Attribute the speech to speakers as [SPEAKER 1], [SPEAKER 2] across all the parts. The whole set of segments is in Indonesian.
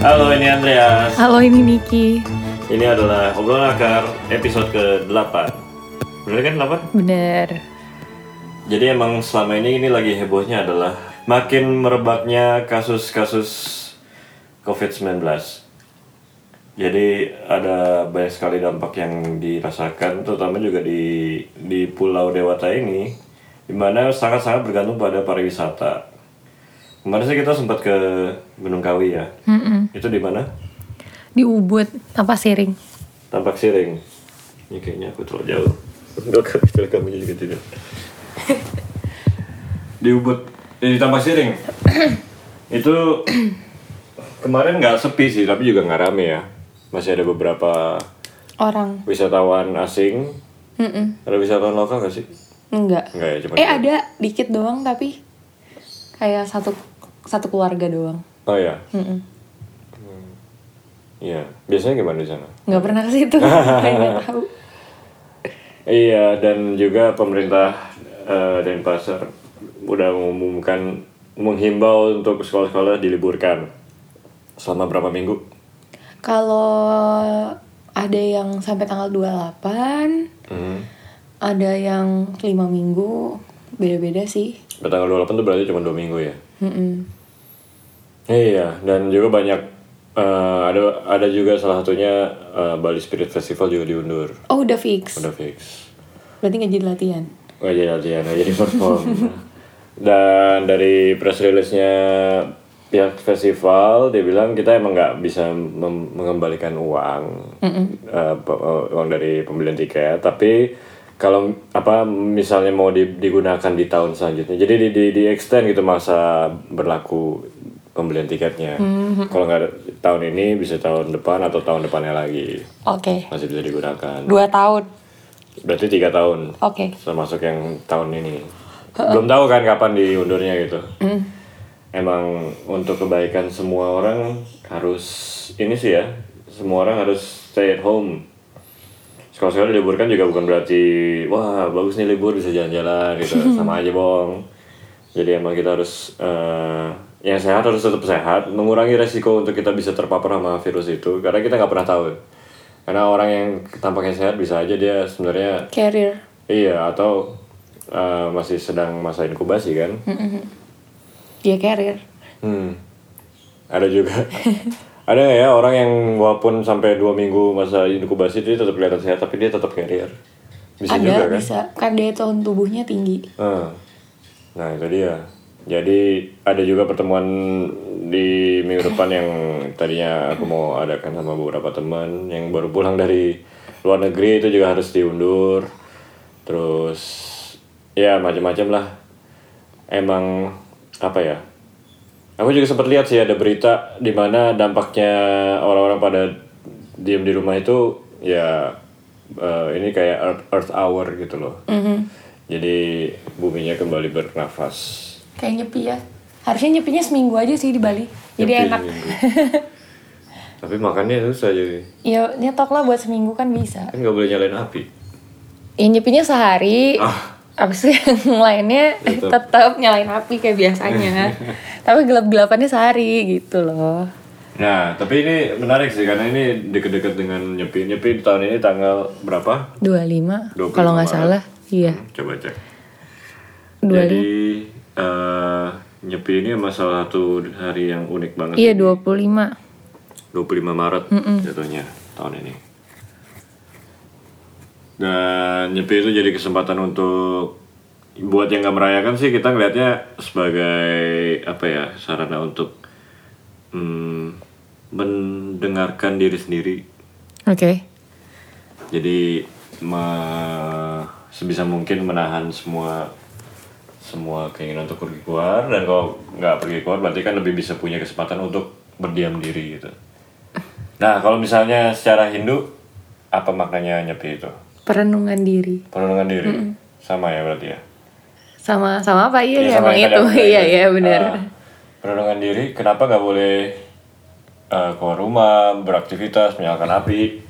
[SPEAKER 1] Halo, ini Andreas.
[SPEAKER 2] Halo ini Niki
[SPEAKER 1] Ini adalah obrolan akar episode ke-8. Bener kan 8?
[SPEAKER 2] Bener
[SPEAKER 1] Jadi emang selama ini ini lagi hebohnya adalah makin merebaknya kasus-kasus COVID-19. Jadi ada banyak sekali dampak yang dirasakan, terutama juga di di Pulau Dewata ini, di mana sangat-sangat bergantung pada pariwisata. Kemarin sih kita sempat ke Gunung Kawi ya. Itu di mana?
[SPEAKER 2] Di Ubud apa siring
[SPEAKER 1] Tampak siring. Ini kayaknya aku terlalu jauh. Untuk kapital kamu juga tidak. di Ubud, eh, di Tampak Siring. itu kemarin nggak sepi sih, tapi juga nggak rame ya. Masih ada beberapa
[SPEAKER 3] Orang
[SPEAKER 1] wisatawan asing.
[SPEAKER 3] Mm-mm.
[SPEAKER 1] Ada wisatawan lokal nggak sih?
[SPEAKER 3] Enggak
[SPEAKER 1] Nggak ya, cuma.
[SPEAKER 3] Eh ada dikit doang tapi Kayak satu satu keluarga doang
[SPEAKER 1] Oh ya,
[SPEAKER 3] Mm-mm.
[SPEAKER 1] iya. Biasanya gimana di sana?
[SPEAKER 3] Nggak pernah ke situ Kayak nggak tahu
[SPEAKER 1] Iya, dan juga pemerintah eh, Denpasar udah mengumumkan menghimbau untuk sekolah-sekolah diliburkan selama berapa minggu?
[SPEAKER 3] Kalau ada yang sampai tanggal 28
[SPEAKER 1] Hmm.
[SPEAKER 3] Ada yang lima minggu Beda-beda sih
[SPEAKER 1] Tanggal 28 itu berarti cuma dua minggu ya?
[SPEAKER 3] Mm-mm.
[SPEAKER 1] Iya, dan juga banyak eh, ada ada juga salah satunya eh, Bali Spirit Festival juga diundur,
[SPEAKER 3] Oh udah fix
[SPEAKER 1] udah fix.
[SPEAKER 3] Berarti nggak jadi latihan
[SPEAKER 1] Gak jadi latihan, nggak iya, jadi perform. Dan dari press release-nya pihak festival, dia bilang kita emang nggak bisa mem- mengembalikan uang, eh, pe- eh, uang dari pembelian tiket. Tapi kalau apa misalnya mau di- digunakan di tahun selanjutnya, jadi di, di, di extend gitu masa berlaku pembelian tiketnya. Kalau nggak ada- tahun ini bisa tahun depan atau tahun depannya lagi
[SPEAKER 3] Oke
[SPEAKER 1] masih bisa digunakan.
[SPEAKER 3] Dua tahun
[SPEAKER 1] Berarti tiga tahun
[SPEAKER 3] Oke
[SPEAKER 1] termasuk yang tahun ini belum tahu kan kapan diundurnya gitu emang untuk kebaikan semua orang harus ini sih ya semua orang harus stay at home sekolah-sekolah diliburkan juga bukan berarti wah bagus nih libur bisa jalan-jalan gitu sama aja bohong jadi emang kita harus eh, yang sehat harus tetap sehat mengurangi resiko untuk kita bisa terpapar sama virus itu karena kita nggak pernah tahu karena orang yang tampaknya sehat bisa aja dia sebenarnya
[SPEAKER 3] Carrier
[SPEAKER 1] Iya atau uh, masih sedang masa inkubasi kan?
[SPEAKER 3] Dia carrier
[SPEAKER 1] Hmm. Ada juga. ada nggak ya orang yang walaupun sampai dua minggu masa inkubasi dia tetap kelihatan sehat tapi dia tetap carrier. Bisa
[SPEAKER 3] Ada
[SPEAKER 1] juga kan?
[SPEAKER 3] bisa Kan daya tahan tubuhnya tinggi
[SPEAKER 1] Eh. Nah itu dia. Jadi ada juga pertemuan di minggu depan yang tadinya aku mau adakan sama beberapa teman yang baru pulang dari luar negeri itu juga harus diundur. Terus ya macam-macam lah. Emang apa ya? Aku juga sempat lihat sih ada berita di mana dampaknya orang-orang pada diem di rumah itu ya eh, ini kayak earth, earth hour gitu loh.
[SPEAKER 3] Mm-hmm.
[SPEAKER 1] Jadi buminya kembali bernafas.
[SPEAKER 3] Kayak nyepi ya. Harusnya nyepinya seminggu aja sih di Bali. Jadi
[SPEAKER 1] Nyepi
[SPEAKER 3] enak.
[SPEAKER 1] seminggu. Tapi makannya susah jadi.
[SPEAKER 3] Ya nyetok lah buat seminggu kan bisa.
[SPEAKER 1] Kan nggak boleh nyalain api.
[SPEAKER 3] Ya nyepinya sehari.
[SPEAKER 1] Ah.
[SPEAKER 3] Abis itu yang lainnya eh,
[SPEAKER 1] Tetep.
[SPEAKER 3] tetap nyalain api kayak biasanya. Tapi gelap-gelapannya sehari gitu loh.
[SPEAKER 1] Nah, tapi ini menarik sih karena ini deket-deket dengan nyepi. Nyepi tahun ini tanggal berapa?
[SPEAKER 3] 25,
[SPEAKER 1] 25
[SPEAKER 3] kalau nggak
[SPEAKER 1] Maret.
[SPEAKER 3] salah. Iya.
[SPEAKER 1] Coba cek.
[SPEAKER 3] Dua
[SPEAKER 1] Jadi eh, nyepi ini emang salah satu hari yang unik banget.
[SPEAKER 2] Iya 25
[SPEAKER 1] 25 Maret jatuhnya tahun ini. Dan nyepi itu jadi kesempatan untuk buat yang nggak merayakan sih kita ngelihatnya sebagai apa ya sarana untuk mm, mendengarkan diri sendiri.
[SPEAKER 2] Oke
[SPEAKER 1] Jadi me- sebisa mungkin menahan semua semua keinginan untuk pergi keluar dan kalau nggak pergi keluar berarti kan lebih bisa punya kesempatan untuk berdiam diri gitu. Nah kalau misalnya secara Hindu apa maknanya nyepi itu?
[SPEAKER 3] Perenungan diri.
[SPEAKER 1] Penenungan diri sama ya berarti ya?
[SPEAKER 3] Sama sama apa iya ya,
[SPEAKER 1] sama yang
[SPEAKER 3] emang
[SPEAKER 1] tadi
[SPEAKER 3] itu.
[SPEAKER 1] aku
[SPEAKER 3] Iya
[SPEAKER 1] bilang.
[SPEAKER 3] iya benar.
[SPEAKER 1] Ah, penenungan diri kenapa nggak boleh eh, keluar rumah beraktivitas menyalakan api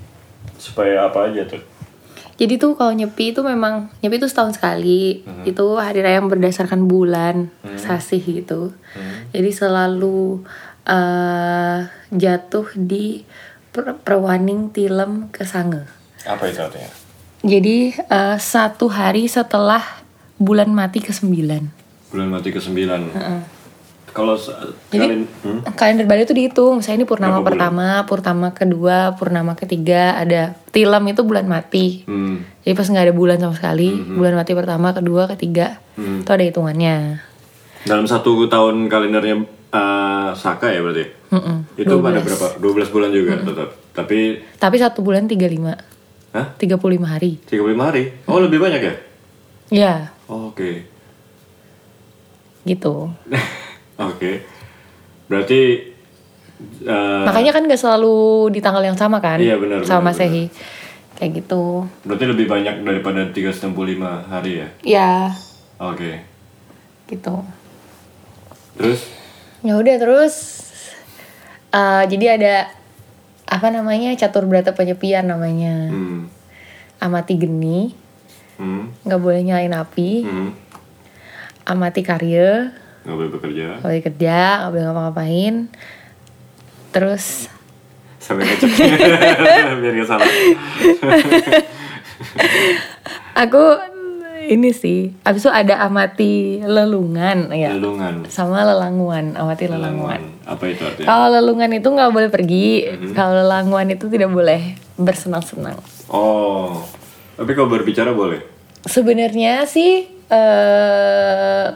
[SPEAKER 1] supaya apa aja tuh?
[SPEAKER 3] Jadi tuh kalau nyepi itu memang nyepi itu setahun sekali.
[SPEAKER 1] Hmm. Hmm.
[SPEAKER 3] Itu hari raya yang berdasarkan bulan sasih gitu. Jadi selalu
[SPEAKER 4] eh, jatuh di per- perwaning tilem kesange.
[SPEAKER 1] Apa itu artinya?
[SPEAKER 3] Jadi eh, satu hari setelah bulan mati ke sembilan.
[SPEAKER 1] Bulan mati ke sembilan. Kalau se- kalian
[SPEAKER 3] Jadi
[SPEAKER 1] hmm?
[SPEAKER 3] kalender Bali itu dihitung. Misalnya ini purnama
[SPEAKER 1] Berapa bulan?
[SPEAKER 3] pertama, purnama kedua, purnama ketiga, ada tilam itu bulan mati.
[SPEAKER 1] Hmm.
[SPEAKER 3] Jadi pas nggak ada bulan sama sekali,
[SPEAKER 1] Mm-hmm.
[SPEAKER 3] bulan mati pertama, kedua, ketiga, itu ada hitungannya.
[SPEAKER 1] dalam satu tahun kalendernya eh, Saka ya berarti. Itu ada berapa? 12 bulan juga tetap. Tapi
[SPEAKER 3] Tapi satu bulan 35,
[SPEAKER 1] hah?
[SPEAKER 3] 35 hari.
[SPEAKER 1] 35 hari. Oh, lebih banyak ya?
[SPEAKER 3] Ya,
[SPEAKER 1] Oh, Oke.
[SPEAKER 3] gitu.
[SPEAKER 1] Oke. Berarti eh,
[SPEAKER 3] Makanya kan nggak selalu di tanggal yang sama kan?
[SPEAKER 1] Iya, benar,
[SPEAKER 3] Sama
[SPEAKER 1] benar,
[SPEAKER 3] Masehi. Kayak gitu.
[SPEAKER 1] berarti lebih banyak daripada 365 hari ya.
[SPEAKER 4] Ya,
[SPEAKER 1] Oke.
[SPEAKER 3] Iya, Gitu.
[SPEAKER 1] Terus
[SPEAKER 3] Ya udah terus eh, jadi ada apa namanya? catur berata penyepian namanya.
[SPEAKER 1] hmm.
[SPEAKER 3] Amati geni,
[SPEAKER 1] Hmm.
[SPEAKER 3] nggak boleh nyalain api.
[SPEAKER 1] Hmm.
[SPEAKER 3] Amati karya,
[SPEAKER 1] Nggak boleh bekerja
[SPEAKER 3] nggak boleh kerja, nggak boleh ngapa-ngapain. Terus
[SPEAKER 1] sampai ngecek biar nggak salah.
[SPEAKER 3] aku ini sih, abis itu ada amati lelungan ya.
[SPEAKER 1] Lelungan.
[SPEAKER 3] Sama lelanguan, amati lelanguan.
[SPEAKER 1] Lelungan. Eh, Apa itu artinya?
[SPEAKER 3] Kalau lelungan itu nggak boleh pergi, kalau lelanguan itu tidak boleh bersenang-senang.
[SPEAKER 1] Oh. Tapi kalau berbicara boleh.
[SPEAKER 3] Sebenarnya sih eh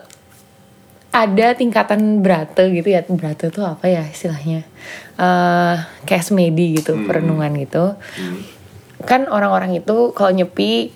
[SPEAKER 3] ada tingkatan berate gitu ya. Berate itu apa ya istilahnya? eh kayak semedi gitu, perenungan gitu.
[SPEAKER 1] Hmm.
[SPEAKER 3] Kan orang-orang itu kalau nyepi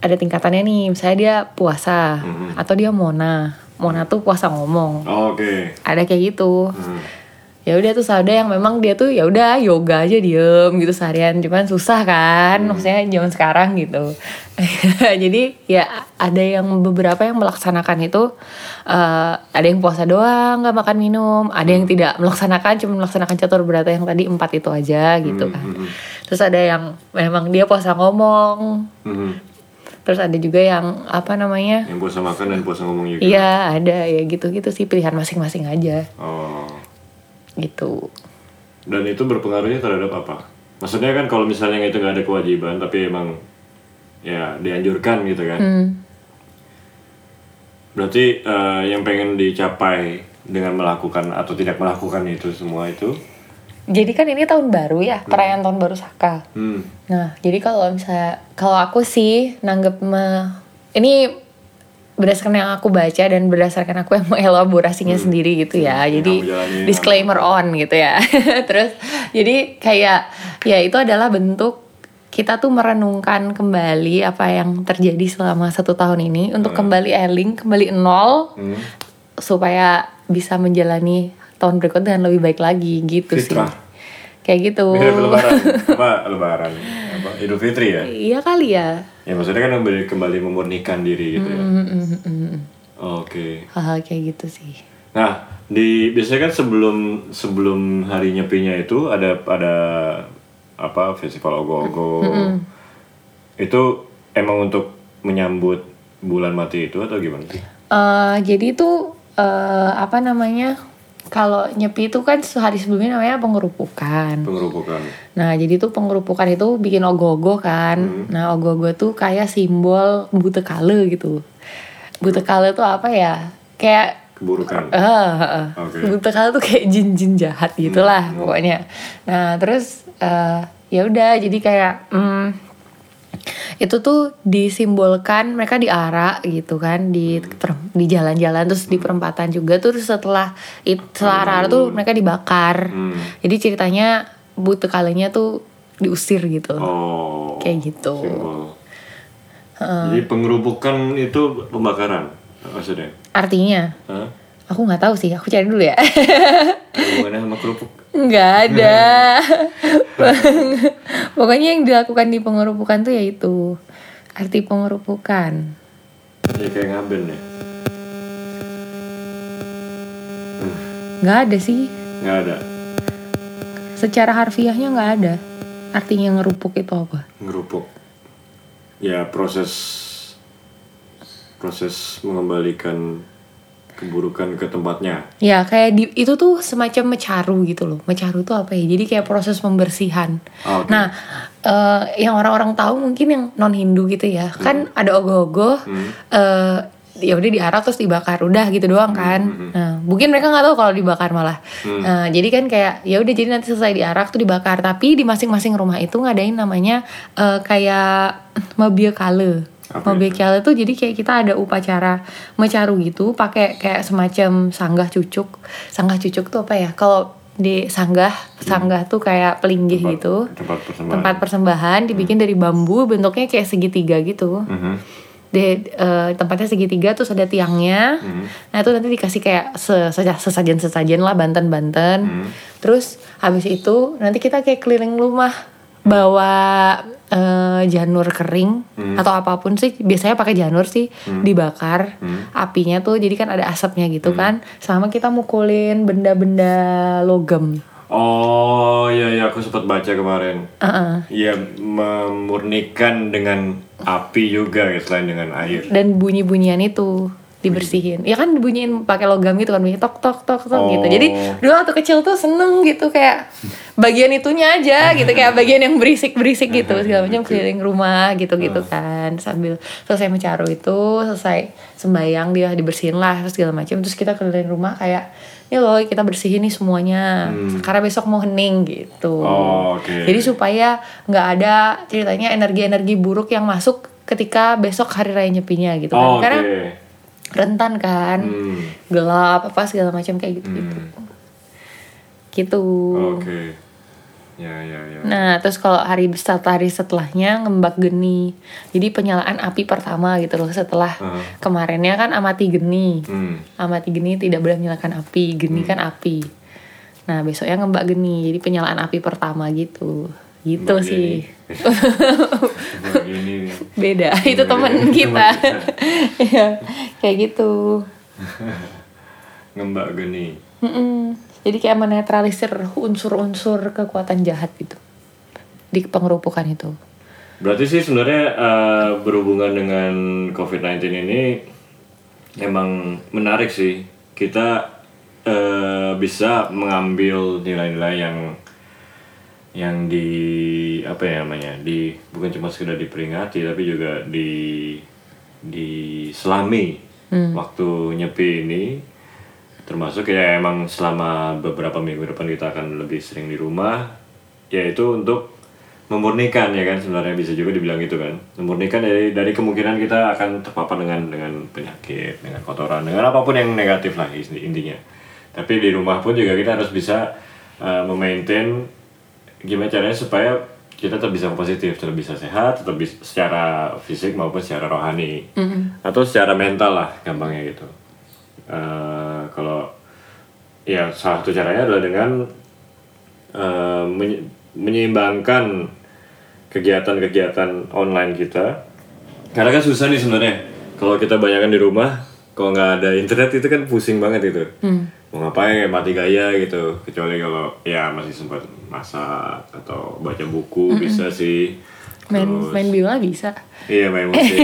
[SPEAKER 3] ada tingkatannya nih. Misalnya dia puasa atau dia mona. Mona tuh puasa ngomong.
[SPEAKER 1] Oh, Oke.
[SPEAKER 3] Ada kayak gitu.
[SPEAKER 1] Hmm.
[SPEAKER 3] ya udah terus ada yang memang dia tuh ya udah yoga aja diem gitu seharian cuman susah kan maksudnya zaman sekarang gitu jadi ya ada yang beberapa yang melaksanakan itu eh, ada yang puasa doang nggak makan minum ada yang tidak melaksanakan cuma melaksanakan catur berata yang tadi empat itu aja gitu kan terus ada yang memang dia puasa ngomong
[SPEAKER 1] Mhm.
[SPEAKER 3] terus ada juga yang apa namanya
[SPEAKER 1] Yang puasa makan dan puasa ngomong juga.
[SPEAKER 3] iya ada ya gitu gitu sih pilihan masing-masing aja
[SPEAKER 1] Oh.
[SPEAKER 3] gitu
[SPEAKER 1] Dan itu berpengaruhnya terhadap apa? Maksudnya kan kalau misalnya itu nggak ada kewajiban tapi emang ya dianjurkan gitu kan.
[SPEAKER 3] Hmm.
[SPEAKER 1] Berarti eh, yang pengen dicapai dengan melakukan atau tidak melakukan itu semua itu.
[SPEAKER 3] Jadi kan ini tahun baru ya, perayaan tahun baru Saka.
[SPEAKER 1] Hmm.
[SPEAKER 3] Nah, jadi kalau misalnya kalau aku sih nanggep me- ini berdasarkan yang aku baca dan berdasarkan aku yang mengelaborasinya sendiri gitu ya.
[SPEAKER 1] Yang
[SPEAKER 3] Jadi
[SPEAKER 1] kamu jalani,
[SPEAKER 3] disclaimer on gitu ya. Terus jadi kayak ya itu adalah bentuk kita tuh merenungkan kembali apa yang terjadi selama satu tahun ini untuk kembali eling, kembali nol
[SPEAKER 1] Hmm.
[SPEAKER 3] supaya bisa menjalani tahun berikut dengan lebih baik lagi gitu
[SPEAKER 1] Fitrah.
[SPEAKER 3] sih. Kayak gitu.
[SPEAKER 1] Mirip lebaran. apa lebaran? Apa Idul Fitri ya?
[SPEAKER 3] Iya kali ya.
[SPEAKER 1] Ya maksudnya kan kembali, kembali memurnikan diri gitu ya.
[SPEAKER 3] Mm, mm, mm, mm.
[SPEAKER 1] Oke.
[SPEAKER 3] Hal-hal kayak gitu sih.
[SPEAKER 1] Nah, di biasanya kan sebelum sebelum hari nyepinya itu ada ada apa festival
[SPEAKER 3] Mm,
[SPEAKER 1] ogo-ogo. Itu emang untuk menyambut bulan mati itu atau gimana sih?
[SPEAKER 3] Eh, jadi itu eh, apa namanya? Kalau nyepi itu kan sehari sebelumnya namanya pengerupukan.
[SPEAKER 1] Pengerupukan.
[SPEAKER 3] Nah, jadi tuh pengerupukan itu bikin ogoh-ogoh kan.
[SPEAKER 1] Hmm.
[SPEAKER 3] Nah, ogoh-ogoh tuh kayak simbol bute kale gitu. Bute kale tuh apa ya? Kayak Eh,
[SPEAKER 1] Keburukan.
[SPEAKER 3] Ah, Heeh.
[SPEAKER 1] Oke. Hmm.
[SPEAKER 3] Bute kala tuh kayak jin-jin jahat gitulah pokoknya. Nah, terus eh, ya udah jadi kayak mm, itu tuh disimbolkan mereka diarak gitu kan di
[SPEAKER 1] Hmm.
[SPEAKER 3] per- di jalan-jalan terus di perempatan juga terus setelah it, setelah arah tuh mereka dibakar.
[SPEAKER 1] Hmm.
[SPEAKER 3] Jadi ceritanya bute kalanya tuh diusir gitu.
[SPEAKER 1] Oh.
[SPEAKER 3] Kayak gitu.
[SPEAKER 1] Simbol. Jadi pengerupukan itu pembakaran maksudnya.
[SPEAKER 3] Artinya
[SPEAKER 1] Hah?
[SPEAKER 3] aku nggak tahu sih, aku cari dulu ya.
[SPEAKER 1] Hubungannya sama kerupuk.
[SPEAKER 3] Nggak ada. Pokoknya yang dilakukan di pengerupukan tuh yaitu arti pengerupukan.
[SPEAKER 1] Ya kayak ngaben ya.
[SPEAKER 3] Nggak ada sih.
[SPEAKER 1] Nggak ada.
[SPEAKER 3] Secara harfiahnya nggak ada. Artinya ngerupuk itu apa?
[SPEAKER 1] ngerupuk ya proses proses mengembalikan keburukan ke tempatnya.
[SPEAKER 3] Ya kayak di, itu tuh semacam mecaru gitu loh. Mecaru tuh apa ya? Jadi kayak proses pembersihan.
[SPEAKER 1] Ah, oke.
[SPEAKER 3] Nah, eh, yang orang-orang tahu mungkin yang non Hindu gitu ya, kan ada ogoh-ogoh. eh, ya udah diarak terus dibakar udah gitu doang kan. Nah, mungkin mereka nggak tahu kalau dibakar malah. Nah, jadi kan kayak ya udah jadi nanti selesai diarak tuh dibakar. Tapi di masing-masing rumah itu ngadain namanya eh, kayak mabia kale.
[SPEAKER 1] Apa
[SPEAKER 3] Mabia Kiala tuh jadi kayak kita ada upacara mecaru gitu pakai kayak semacam sanggah cucuk. Sanggah cucuk tuh apa ya? Kalau di sanggah, sanggah tuh kayak pelinggih
[SPEAKER 1] Hmm. Tempat-
[SPEAKER 3] gitu.
[SPEAKER 1] tempat persembahan. Hmm.
[SPEAKER 3] Tempat persembahan dibikin dari bambu, bentuknya kayak segitiga gitu.
[SPEAKER 1] Mhm.
[SPEAKER 3] Di eh, tempatnya segitiga terus ada tiangnya. Nah, itu nanti dikasih kayak se- seja- sesajen-sesajen lah banten-banten. Terus habis itu nanti kita kayak keliling rumah bawa eh, janur kering atau apapun sih biasanya pakai janur sih dibakar apinya tuh jadi kan ada asapnya gitu kan sama kita mukulin benda-benda logam
[SPEAKER 1] Oh iya iya aku sempat baca kemarin.
[SPEAKER 3] Heeh.
[SPEAKER 1] Iya memurnikan dengan api juga ya selain dengan air.
[SPEAKER 3] dan bunyi-bunyian itu dibersihin. Ya kan dibunyiin pakai logam gitu kan bunyi tok tok tok tok
[SPEAKER 1] Oh.
[SPEAKER 3] gitu. Jadi dulu waktu kecil tuh seneng gitu kayak bagian itunya aja gitu kayak bagian yang berisik-berisik gitu segala macam keliling rumah gitu-gitu
[SPEAKER 1] Ah.
[SPEAKER 3] kan sambil selesai mecaru itu selesai sembayang dia dibersihin lah terus segala macam terus kita keliling rumah kayak ini loh kita bersihin nih semuanya karena besok mau hening gitu.
[SPEAKER 1] Hmm. Oh, oke.
[SPEAKER 3] Jadi supaya nggak ada ceritanya energi-energi buruk yang masuk ketika besok hari raya nyepinya gitu kan
[SPEAKER 1] Oh, Oke.
[SPEAKER 3] karena rentan kan
[SPEAKER 1] Hmm.
[SPEAKER 3] gelap apa segala macam kayak gitu gitu gitu
[SPEAKER 1] Oke. Ya ya ya.
[SPEAKER 3] nah terus kalau hari setelah hari setelahnya ngembak geni jadi penyalaan api pertama gitu loh setelah
[SPEAKER 1] Heeh.
[SPEAKER 3] kemarinnya kan amati geni
[SPEAKER 1] Uh-huh. Hmm.
[SPEAKER 3] amati geni tidak boleh menyalakan api geni kan api nah besoknya ngembak geni jadi penyalaan api pertama gitu gitu
[SPEAKER 1] Mbak
[SPEAKER 3] sih
[SPEAKER 1] Yeni. Mbak Yeni.
[SPEAKER 3] beda itu temen kita Iya, kayak gitu
[SPEAKER 1] ngembak geni.
[SPEAKER 3] Mm-mm. jadi kayak menetralisir unsur-unsur kekuatan jahat gitu di pengerupukan itu
[SPEAKER 1] Berarti sih sebenarnya eh, berhubungan dengan COVID-19 ini emang menarik sih. Kita eh, bisa mengambil nilai-nilai yang yang di apa ya namanya di bukan cuma sekedar diperingati tapi juga di diselami waktu nyepi ini termasuk ya emang selama beberapa minggu depan kita akan lebih sering di rumah yaitu untuk memurnikan ya kan sebenarnya bisa juga dibilang gitu kan memurnikan dari dari kemungkinan kita akan terpapar dengan dengan penyakit dengan kotoran dengan apapun yang negatif lah is- intinya tapi di rumah pun juga kita harus bisa eh, memaintain gimana caranya supaya kita tetap bisa positif, tetap bisa sehat, tetap bisa secara fisik maupun secara rohani atau secara mental lah gampangnya gitu. Eh, kalau ya salah satu caranya adalah dengan eh, menye- menyeimbangkan kegiatan-kegiatan online kita. Karena kan susah nih sebenarnya. Kalau kita banyakkan di rumah, kalau nggak ada internet itu kan pusing banget itu. Mau ngapain kayak mati gaya gitu. Kecuali kalau ya masih sempat masak atau baca buku bisa sih.
[SPEAKER 3] main
[SPEAKER 1] Terus-
[SPEAKER 3] main biola bisa
[SPEAKER 1] Iya main musik,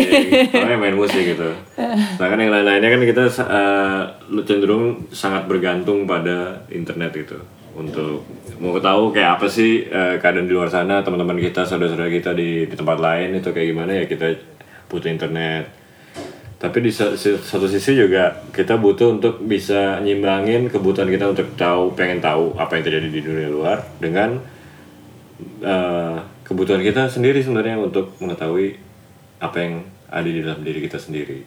[SPEAKER 1] orangnya main musik gitu. Sedangkan yang lain-lainnya kan kita eh, cenderung sangat bergantung pada internet gitu. Untuk mau tahu kayak apa sih eh, keadaan di luar sana, teman-teman kita, saudara-saudara kita di, di tempat lain itu kayak gimana ya kita butuh internet. Tapi di sa- si- satu sisi juga kita butuh untuk bisa nyimbangin kebutuhan kita untuk tahu, pengen tahu apa yang terjadi di dunia luar dengan eh, kebutuhan kita sendiri sebenarnya untuk mengetahui apa yang ada di dalam diri kita sendiri.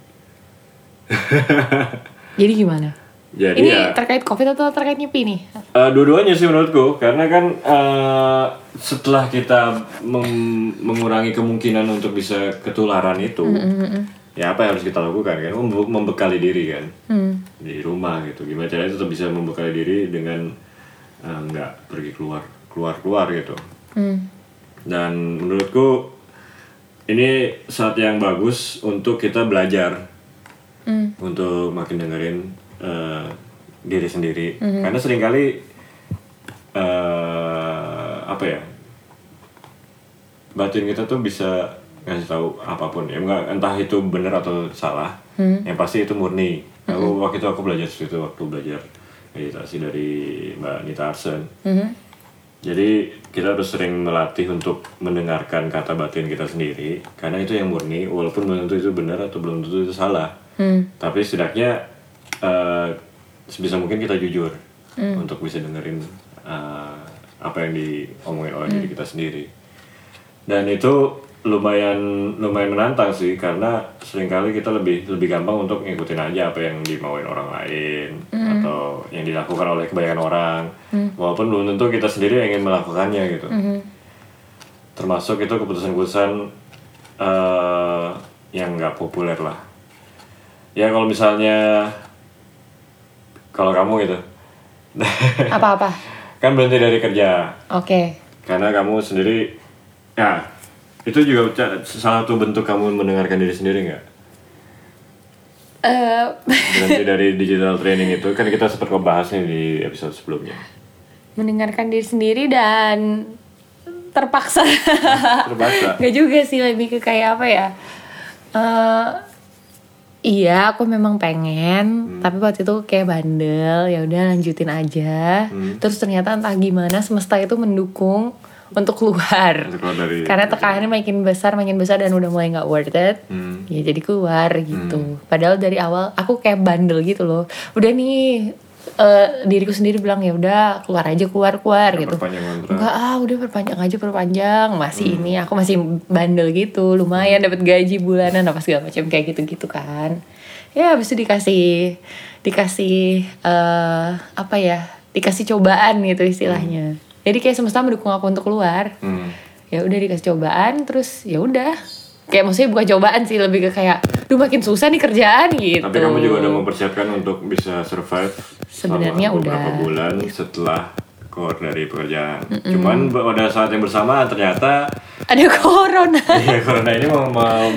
[SPEAKER 3] jadi gimana
[SPEAKER 1] Jadi
[SPEAKER 3] ini
[SPEAKER 1] ya
[SPEAKER 3] terkait covid atau terkait nyepi nih
[SPEAKER 1] eh, dua-duanya sih menurutku karena kan eh, setelah kita mem- mengurangi kemungkinan untuk bisa ketularan itu, ya apa yang harus kita lakukan kan Membe- membekali diri kan di rumah gitu. Gimana caranya tetap bisa membekali diri dengan eh, nggak pergi keluar keluar keluar gitu. dan menurutku ini saat yang bagus untuk kita belajar untuk makin dengerin eh, diri sendiri karena seringkali eh apa ya batin kita tuh bisa ngasih tahu apapun ya enggak entah itu benar atau salah yang pasti itu murni Aku waktu itu aku belajar situ waktu belajar meditasi dari Mbak Nita Arsen. Jadi kita harus sering melatih untuk mendengarkan kata batin kita sendiri karena itu yang murni walaupun belum tentu itu benar atau belum tentu itu salah. Tapi setidaknya eh, sebisa mungkin kita jujur untuk bisa dengerin eh, apa yang diomongin oleh diri kita sendiri dan itu lumayan lumayan menantang sih karena seringkali kita lebih lebih gampang untuk ngikutin aja apa yang dimauin orang lain atau yang dilakukan oleh kebanyakan orang walaupun belum tentu kita sendiri yang ingin melakukannya gitu termasuk itu keputusan-keputusan eh, yang nggak populer lah ya kalau misalnya kalau kamu gitu
[SPEAKER 3] Apa-apa?
[SPEAKER 1] kan berhenti dari kerja
[SPEAKER 3] Oke.
[SPEAKER 1] karena kamu sendiri ya itu juga ca- salah satu bentuk kamu mendengarkan diri sendiri nggak
[SPEAKER 4] Eh,
[SPEAKER 1] berhenti dari digital training itu kan kita sempat ngebahas nih di episode sebelumnya
[SPEAKER 4] mendengarkan diri sendiri dan terpaksa
[SPEAKER 1] terbaca
[SPEAKER 3] Gak juga sih lebih ke kayak apa ya? Eh iya, aku memang
[SPEAKER 1] Hmm.
[SPEAKER 3] pengen, tapi waktu itu kayak bandel, ya udah lanjutin aja.
[SPEAKER 1] Hmm.
[SPEAKER 3] Terus ternyata entah gimana semesta itu mendukung untuk keluar.
[SPEAKER 1] Untuk keluar dari-
[SPEAKER 3] Karena tekanannya makin besar, makin besar dan udah mulai nggak worth it.
[SPEAKER 1] Hmm.
[SPEAKER 3] Ya jadi keluar gitu. Padahal dari awal aku kayak bandel gitu loh. Udah nih eh, diriku sendiri bilang ya udah keluar aja keluar keluar gitu.
[SPEAKER 1] perpanjang kontrak
[SPEAKER 3] Enggak ah udah perpanjang aja perpanjang
[SPEAKER 1] Hmm.
[SPEAKER 3] masih ini aku masih bandel gitu lumayan dapat gaji bulanan apa segala macam kayak gitu gitu kan ya habis itu dikasih dikasih eh apa ya dikasih cobaan gitu istilahnya jadi kayak semesta mendukung aku untuk keluar
[SPEAKER 1] Hmm.
[SPEAKER 3] ya udah dikasih cobaan terus ya udah kayak maksudnya bukan cobaan sih lebih ke kayak duh makin susah nih kerjaan gitu
[SPEAKER 1] tapi kamu juga udah mempersiapkan untuk bisa survive selama
[SPEAKER 3] Sebenarnya
[SPEAKER 1] beberapa
[SPEAKER 3] udah.
[SPEAKER 1] bulan setelah keluar dari pekerjaan cuman pada saat yang bersamaan ternyata
[SPEAKER 3] ada corona
[SPEAKER 1] ya corona ini mau, mau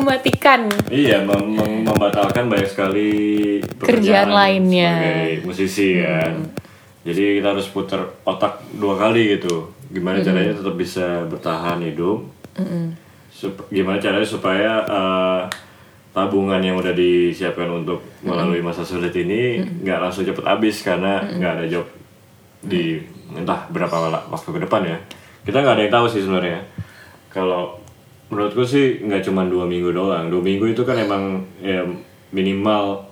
[SPEAKER 3] mematikan
[SPEAKER 1] Iya, mem- mem- membatalkan banyak sekali
[SPEAKER 3] Kerjaan
[SPEAKER 1] pekerjaan
[SPEAKER 3] lainnya. Hmm.
[SPEAKER 1] sebagai musisi kan. Jadi kita harus putar otak dua kali gitu.
[SPEAKER 3] Hmm.
[SPEAKER 1] Gimana caranya tetap bisa bertahan hidup? Sup- gimana caranya supaya eh, tabungan yang udah disiapkan untuk melalui masa sulit ini nggak langsung cepet habis karena nggak ada job di entah berapa la- waktu ke depan ya kita nggak ada yang tahu sih sebenarnya kalau menurutku sih nggak cuma dua minggu doang dua minggu itu kan emang ya, minimal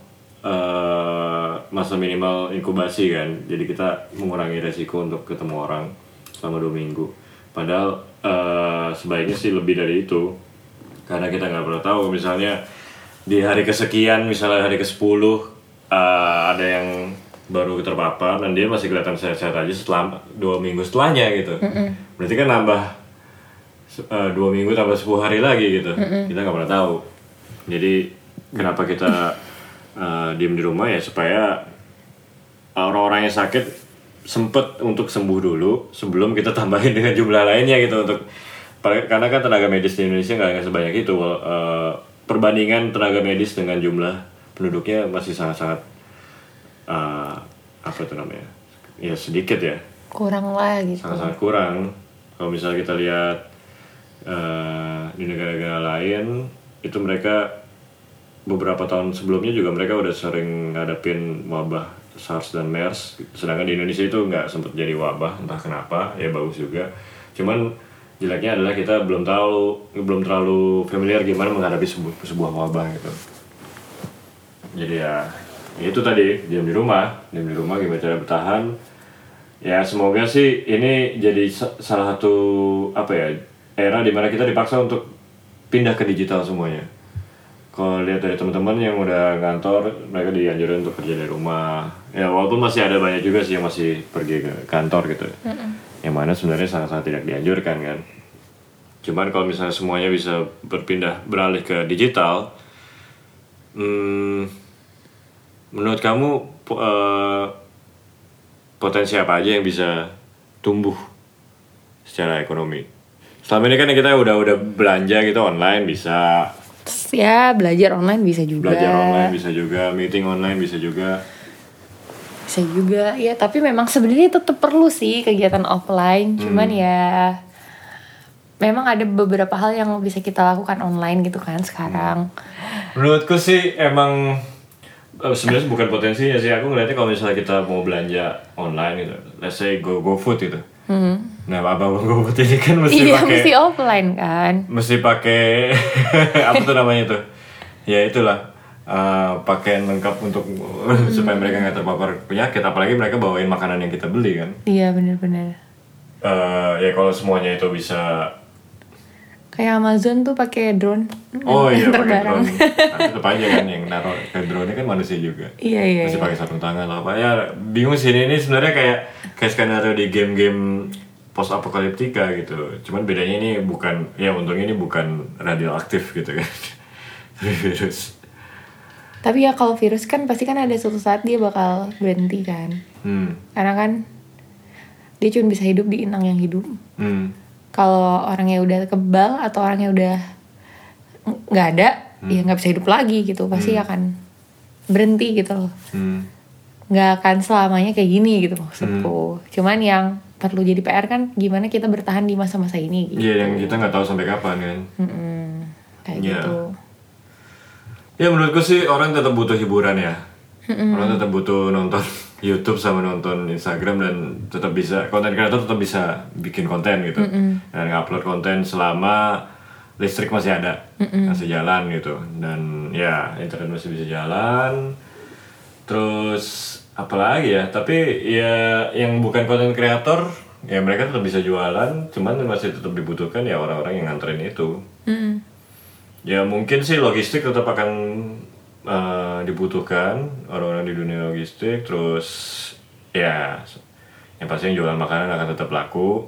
[SPEAKER 1] eh, masa minimal inkubasi kan jadi kita mengurangi resiko untuk ketemu orang selama dua minggu padahal eh, sebaiknya sih lebih dari itu karena kita nggak pernah tahu misalnya di hari kesekian misalnya hari ke 10 ada yang baru terpapar dan dia masih kelihatan sehat-sehat aja setelah dua minggu setelahnya gitu berarti kan nambah se- eh, dua minggu tambah 10 hari lagi gitu kita nggak pernah tahu jadi kenapa kita eh, diem di rumah ya supaya orang-orang yang sakit sempet untuk sembuh dulu sebelum kita tambahin dengan jumlah lainnya gitu untuk karena kan tenaga medis di Indonesia nggak nggak sebanyak itu wal- eh, perbandingan tenaga medis dengan jumlah penduduknya masih sangat-sangat eh, apa itu namanya ya sedikit ya
[SPEAKER 3] kurang lah gitu
[SPEAKER 1] sangat-sangat kurang kalau misalnya kita lihat eh, di negara-negara lain itu mereka beberapa tahun sebelumnya juga mereka udah sering ngadepin wabah SARS dan MERS sedangkan di Indonesia itu nggak sempat jadi wabah entah kenapa ya bagus juga cuman jeleknya adalah kita belum tahu belum terlalu familiar gimana menghadapi sebu- sebuah wabah gitu jadi ya, ya itu tadi diam di rumah diam di rumah gimana cara bertahan ya semoga sih ini jadi sa- salah satu apa ya era dimana kita dipaksa untuk pindah ke digital semuanya kalau lihat dari teman-teman yang udah kantor mereka dianjurin untuk kerja dari rumah ya walaupun masih ada banyak juga sih yang masih pergi ke kantor gitu yang mana sebenarnya sangat-sangat tidak dianjurkan kan cuman kalau misalnya semuanya bisa berpindah beralih ke digital Hmm, menurut kamu po- eh, potensi apa aja yang bisa tumbuh secara ekonomi? Selama ini kan kita udah udah belanja gitu online bisa,
[SPEAKER 3] Terus ya belajar online bisa juga
[SPEAKER 1] belajar online bisa juga, meeting online bisa juga.
[SPEAKER 3] bisa juga ya tapi memang sebenarnya tetap perlu sih kegiatan offline cuman
[SPEAKER 1] Hmm.
[SPEAKER 3] ya memang ada beberapa hal
[SPEAKER 1] Hmm.
[SPEAKER 3] yang bisa kita lakukan online gitu kan sekarang
[SPEAKER 1] Menurutku sih emang Eh, sebenarnya bukan potensinya sih aku ngeliatnya kalau misalnya kita mau belanja online gitu let's say go go food gitu nah abang abang go food ini kan mesti
[SPEAKER 3] Hmm. iya
[SPEAKER 1] pakai
[SPEAKER 3] mesti offline kan
[SPEAKER 1] mesti pakai apa tuh namanya tuh ya itulah eh, pakaian lengkap untuk supaya mereka nggak terpapar penyakit apalagi mereka bawain makanan yang kita beli kan
[SPEAKER 3] iya bener-bener
[SPEAKER 1] Eh, ya kalau semuanya itu bisa
[SPEAKER 3] kayak Amazon tuh pakai drone
[SPEAKER 1] oh iya
[SPEAKER 3] Antar
[SPEAKER 1] pakai
[SPEAKER 3] barang.
[SPEAKER 1] drone Tapi tetap aja kan yang naruh ke drone kan manusia juga
[SPEAKER 3] iya iya,
[SPEAKER 1] masih
[SPEAKER 3] iya.
[SPEAKER 1] pakai sarung tangan lah apa ya bingung sih ini, ini sebenarnya kayak kayak skenario di game-game post apokaliptika gitu cuman bedanya ini bukan ya untungnya ini bukan radioaktif gitu kan tapi virus
[SPEAKER 3] tapi ya kalau virus kan pasti kan ada suatu saat dia bakal berhenti kan
[SPEAKER 1] hmm
[SPEAKER 3] karena kan dia cuma bisa hidup di inang yang hidup
[SPEAKER 1] hmm
[SPEAKER 3] kalau orangnya udah kebal atau orangnya udah ng- nggak ada
[SPEAKER 1] Hmm.
[SPEAKER 3] ya nggak bisa hidup lagi gitu pasti akan berhenti gitu loh
[SPEAKER 1] hmm
[SPEAKER 3] nggak akan selamanya kayak gini gitu
[SPEAKER 1] Hmm.
[SPEAKER 3] maksudku cuman yang perlu jadi PR kan gimana kita bertahan di masa-masa ini gitu
[SPEAKER 1] Iya yang kita nggak tahu sampai kapan kan
[SPEAKER 3] Mm-mm. kayak
[SPEAKER 1] Iya.
[SPEAKER 3] gitu
[SPEAKER 1] ya menurutku sih orang tetap butuh hiburan ya orang tetap butuh nonton YouTube sama nonton Instagram dan tetap bisa konten kreator tetap bisa bikin konten gitu dan upload konten selama listrik masih ada masih jalan gitu dan ya internet masih bisa jalan terus apalagi ya tapi ya yang bukan konten kreator ya mereka tetap bisa jualan cuman masih tetap dibutuhkan ya orang-orang yang nganterin itu Ya mungkin sih logistik tetap akan eh, dibutuhkan orang-orang di dunia logistik terus ya yang pasti yang jualan makanan akan tetap laku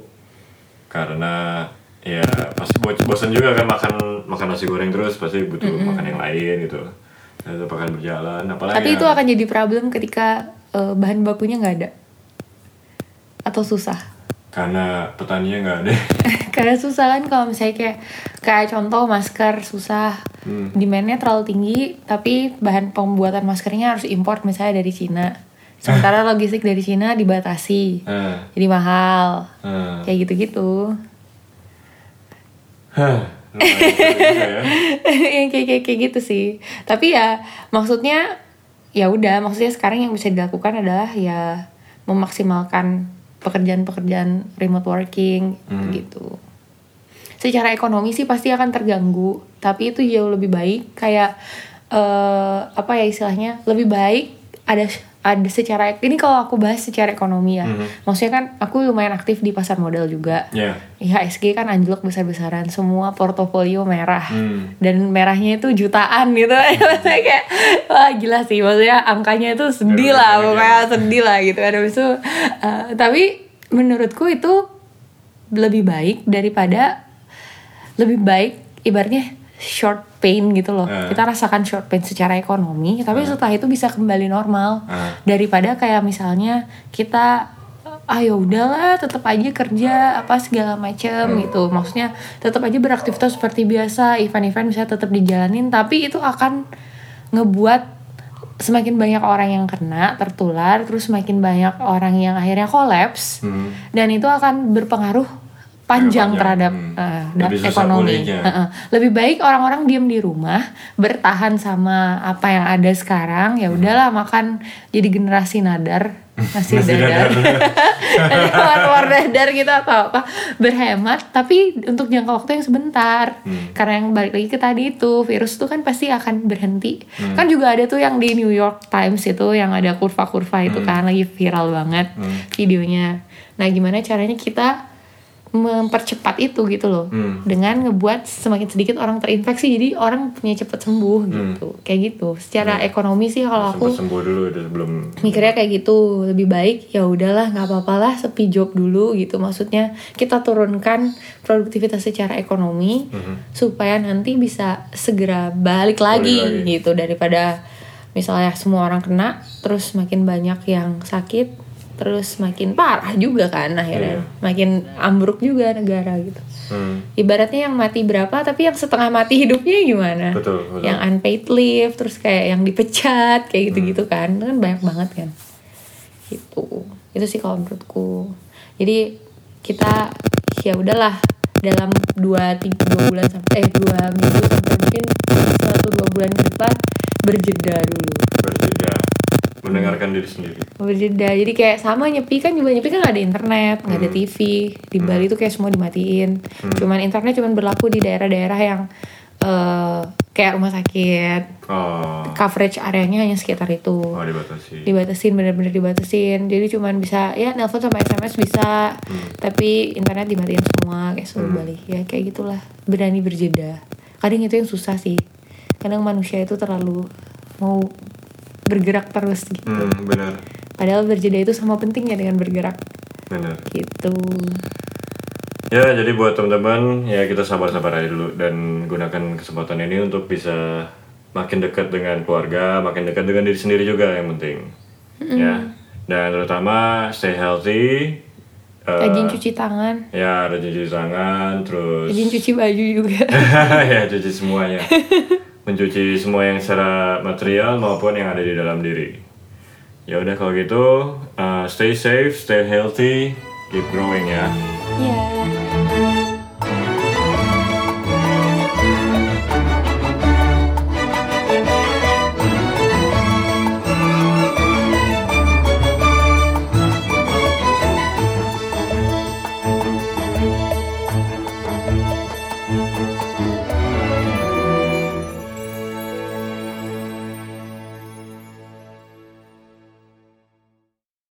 [SPEAKER 1] karena ya pasti bo- bosan juga kan makan makan nasi goreng terus pasti butuh makan yang lain gitu Dan tetap akan berjalan apalagi
[SPEAKER 3] tapi
[SPEAKER 1] ya,
[SPEAKER 3] itu akan jadi problem ketika eh, bahan bakunya nggak ada atau susah
[SPEAKER 1] karena petaninya nggak ada
[SPEAKER 3] karena susah kan kalau misalnya kayak kayak contoh masker susah demandnya terlalu tinggi tapi bahan pembuatan maskernya harus import misalnya dari Cina sementara logistik dari Cina dibatasi
[SPEAKER 1] Eh,
[SPEAKER 3] jadi mahal
[SPEAKER 1] eh.
[SPEAKER 3] kayak gitu-gitu
[SPEAKER 1] Hah, lumayan juga nah, ya.
[SPEAKER 3] yang kayak kayak kayak gitu sih tapi ya maksudnya ya udah maksudnya sekarang yang bisa dilakukan adalah ya memaksimalkan pekerjaan-pekerjaan remote working gitu secara ekonomi sih pasti akan terganggu tapi itu jauh lebih baik kayak eh apa ya istilahnya lebih baik ada ada secara ini kalau aku bahas secara ekonomi ya maksudnya kan aku lumayan aktif di pasar modal juga
[SPEAKER 1] ya
[SPEAKER 3] IHSG kan anjlok besar-besaran semua portofolio merah
[SPEAKER 1] Hmm.
[SPEAKER 3] dan merahnya itu jutaan gitu maksudnya kayak wah gila sih maksudnya angkanya itu sedih
[SPEAKER 1] Bener-bener
[SPEAKER 3] lah
[SPEAKER 1] banget ya.
[SPEAKER 3] pokoknya sedih lah gitu kan Habis itu eh, tapi menurutku itu lebih baik daripada lebih baik ibaratnya short pain gitu loh
[SPEAKER 1] Eh.
[SPEAKER 3] kita rasakan short pain secara ekonomi tapi
[SPEAKER 1] Hmm.
[SPEAKER 3] setelah itu bisa kembali normal
[SPEAKER 1] Eh.
[SPEAKER 3] daripada kayak misalnya kita ah ya udahlah tetap aja kerja apa segala macem
[SPEAKER 1] Hmm.
[SPEAKER 3] gitu maksudnya tetap aja beraktivitas seperti biasa event-event bisa tetap dijalanin tapi itu akan ngebuat semakin banyak orang yang kena tertular terus semakin banyak orang yang akhirnya kolaps
[SPEAKER 1] Hmm.
[SPEAKER 3] dan itu akan berpengaruh panjang,
[SPEAKER 1] Panjang,
[SPEAKER 3] terhadap
[SPEAKER 1] hmm.
[SPEAKER 3] eh,
[SPEAKER 1] Lebih
[SPEAKER 3] dampak
[SPEAKER 1] susah
[SPEAKER 3] ekonomi
[SPEAKER 1] pulihnya.
[SPEAKER 3] Eh, eh. lebih baik orang-orang diem di rumah bertahan sama apa yang ada sekarang ya udahlah makan jadi generasi nadar masih
[SPEAKER 1] Nasi
[SPEAKER 3] dadar
[SPEAKER 1] dadar.
[SPEAKER 3] keluar dadar gitu atau apa berhemat tapi untuk jangka waktu yang sebentar
[SPEAKER 1] Hmm.
[SPEAKER 3] karena yang balik lagi ke tadi itu virus itu kan pasti akan berhenti
[SPEAKER 1] Hmm.
[SPEAKER 3] kan juga ada tuh yang di New York Times itu yang ada kurva-kurva
[SPEAKER 1] Hmm.
[SPEAKER 3] itu kan lagi viral banget videonya nah gimana caranya kita mempercepat itu gitu loh
[SPEAKER 1] Hmm.
[SPEAKER 3] dengan ngebuat semakin sedikit orang terinfeksi jadi orang punya cepat sembuh gitu kayak gitu secara ekonomi sih kalau
[SPEAKER 1] Hmm.
[SPEAKER 3] aku
[SPEAKER 1] Iya. sempat sembuh dulu itu sebelum
[SPEAKER 3] mikirnya kayak gitu lebih baik ya udahlah nggak apa-apalah sepi job dulu gitu maksudnya kita turunkan produktivitas secara ekonomi supaya nanti bisa segera balik
[SPEAKER 1] Mhm.
[SPEAKER 3] lagi,
[SPEAKER 1] Balik lagi.
[SPEAKER 3] gitu daripada misalnya semua orang kena terus makin banyak yang sakit terus makin parah juga kan
[SPEAKER 1] Iya.
[SPEAKER 3] akhirnya makin ambruk juga negara gitu
[SPEAKER 1] Hmm,
[SPEAKER 3] ibaratnya yang mati berapa tapi yang setengah mati hidupnya gimana
[SPEAKER 1] betul betul
[SPEAKER 3] yang unpaid leave terus kayak yang dipecat kayak gitu-gitu kan itu kan banyak banget kan gitu itu sih kalau menurutku jadi kita ya udahlah dalam dua tiga dua bulan sampai eh dua minggu sampai mungkin satu dua bulan ke depan berjeda dulu
[SPEAKER 1] Berjeda mendengarkan diri sendiri.
[SPEAKER 3] berjeda jadi kayak sama nyepi kan juga nyepi kan gak ada internet nggak ada TV di Bali tuh kayak semua dimatiin cuman internet cuman berlaku di daerah-daerah yang eh, kayak rumah sakit
[SPEAKER 1] Oh,
[SPEAKER 3] coverage areanya hanya sekitar itu
[SPEAKER 1] oh dibatasi.
[SPEAKER 3] dibatasin bener-bener dibatasin jadi cuman bisa ya nelpon sama SMS bisa
[SPEAKER 1] Hmm.
[SPEAKER 3] tapi internet dimatiin semua kayak seluruh Bali ya kayak gitulah berani berjeda kadang itu yang susah sih kadang manusia itu terlalu mau bergerak terus gitu
[SPEAKER 1] Hmm, benar,
[SPEAKER 3] Padahal berjeda itu sama pentingnya dengan bergerak
[SPEAKER 1] benar.
[SPEAKER 3] gitu.
[SPEAKER 1] Ya, jadi buat teman-teman, ya kita sabar-sabar aja dulu dan gunakan kesempatan ini untuk bisa makin dekat dengan keluarga, makin dekat dengan diri sendiri juga yang penting. Ya. Dan terutama stay healthy. eh,
[SPEAKER 3] Rajin cuci tangan,
[SPEAKER 1] ya, rajin cuci tangan, terus
[SPEAKER 3] rajin cuci baju juga.
[SPEAKER 1] ya cuci semuanya. Mencuci semua yang secara material maupun yang ada di dalam diri. Ya udah kalau gitu, eh, stay safe, stay healthy, keep growing ya.
[SPEAKER 3] Iya.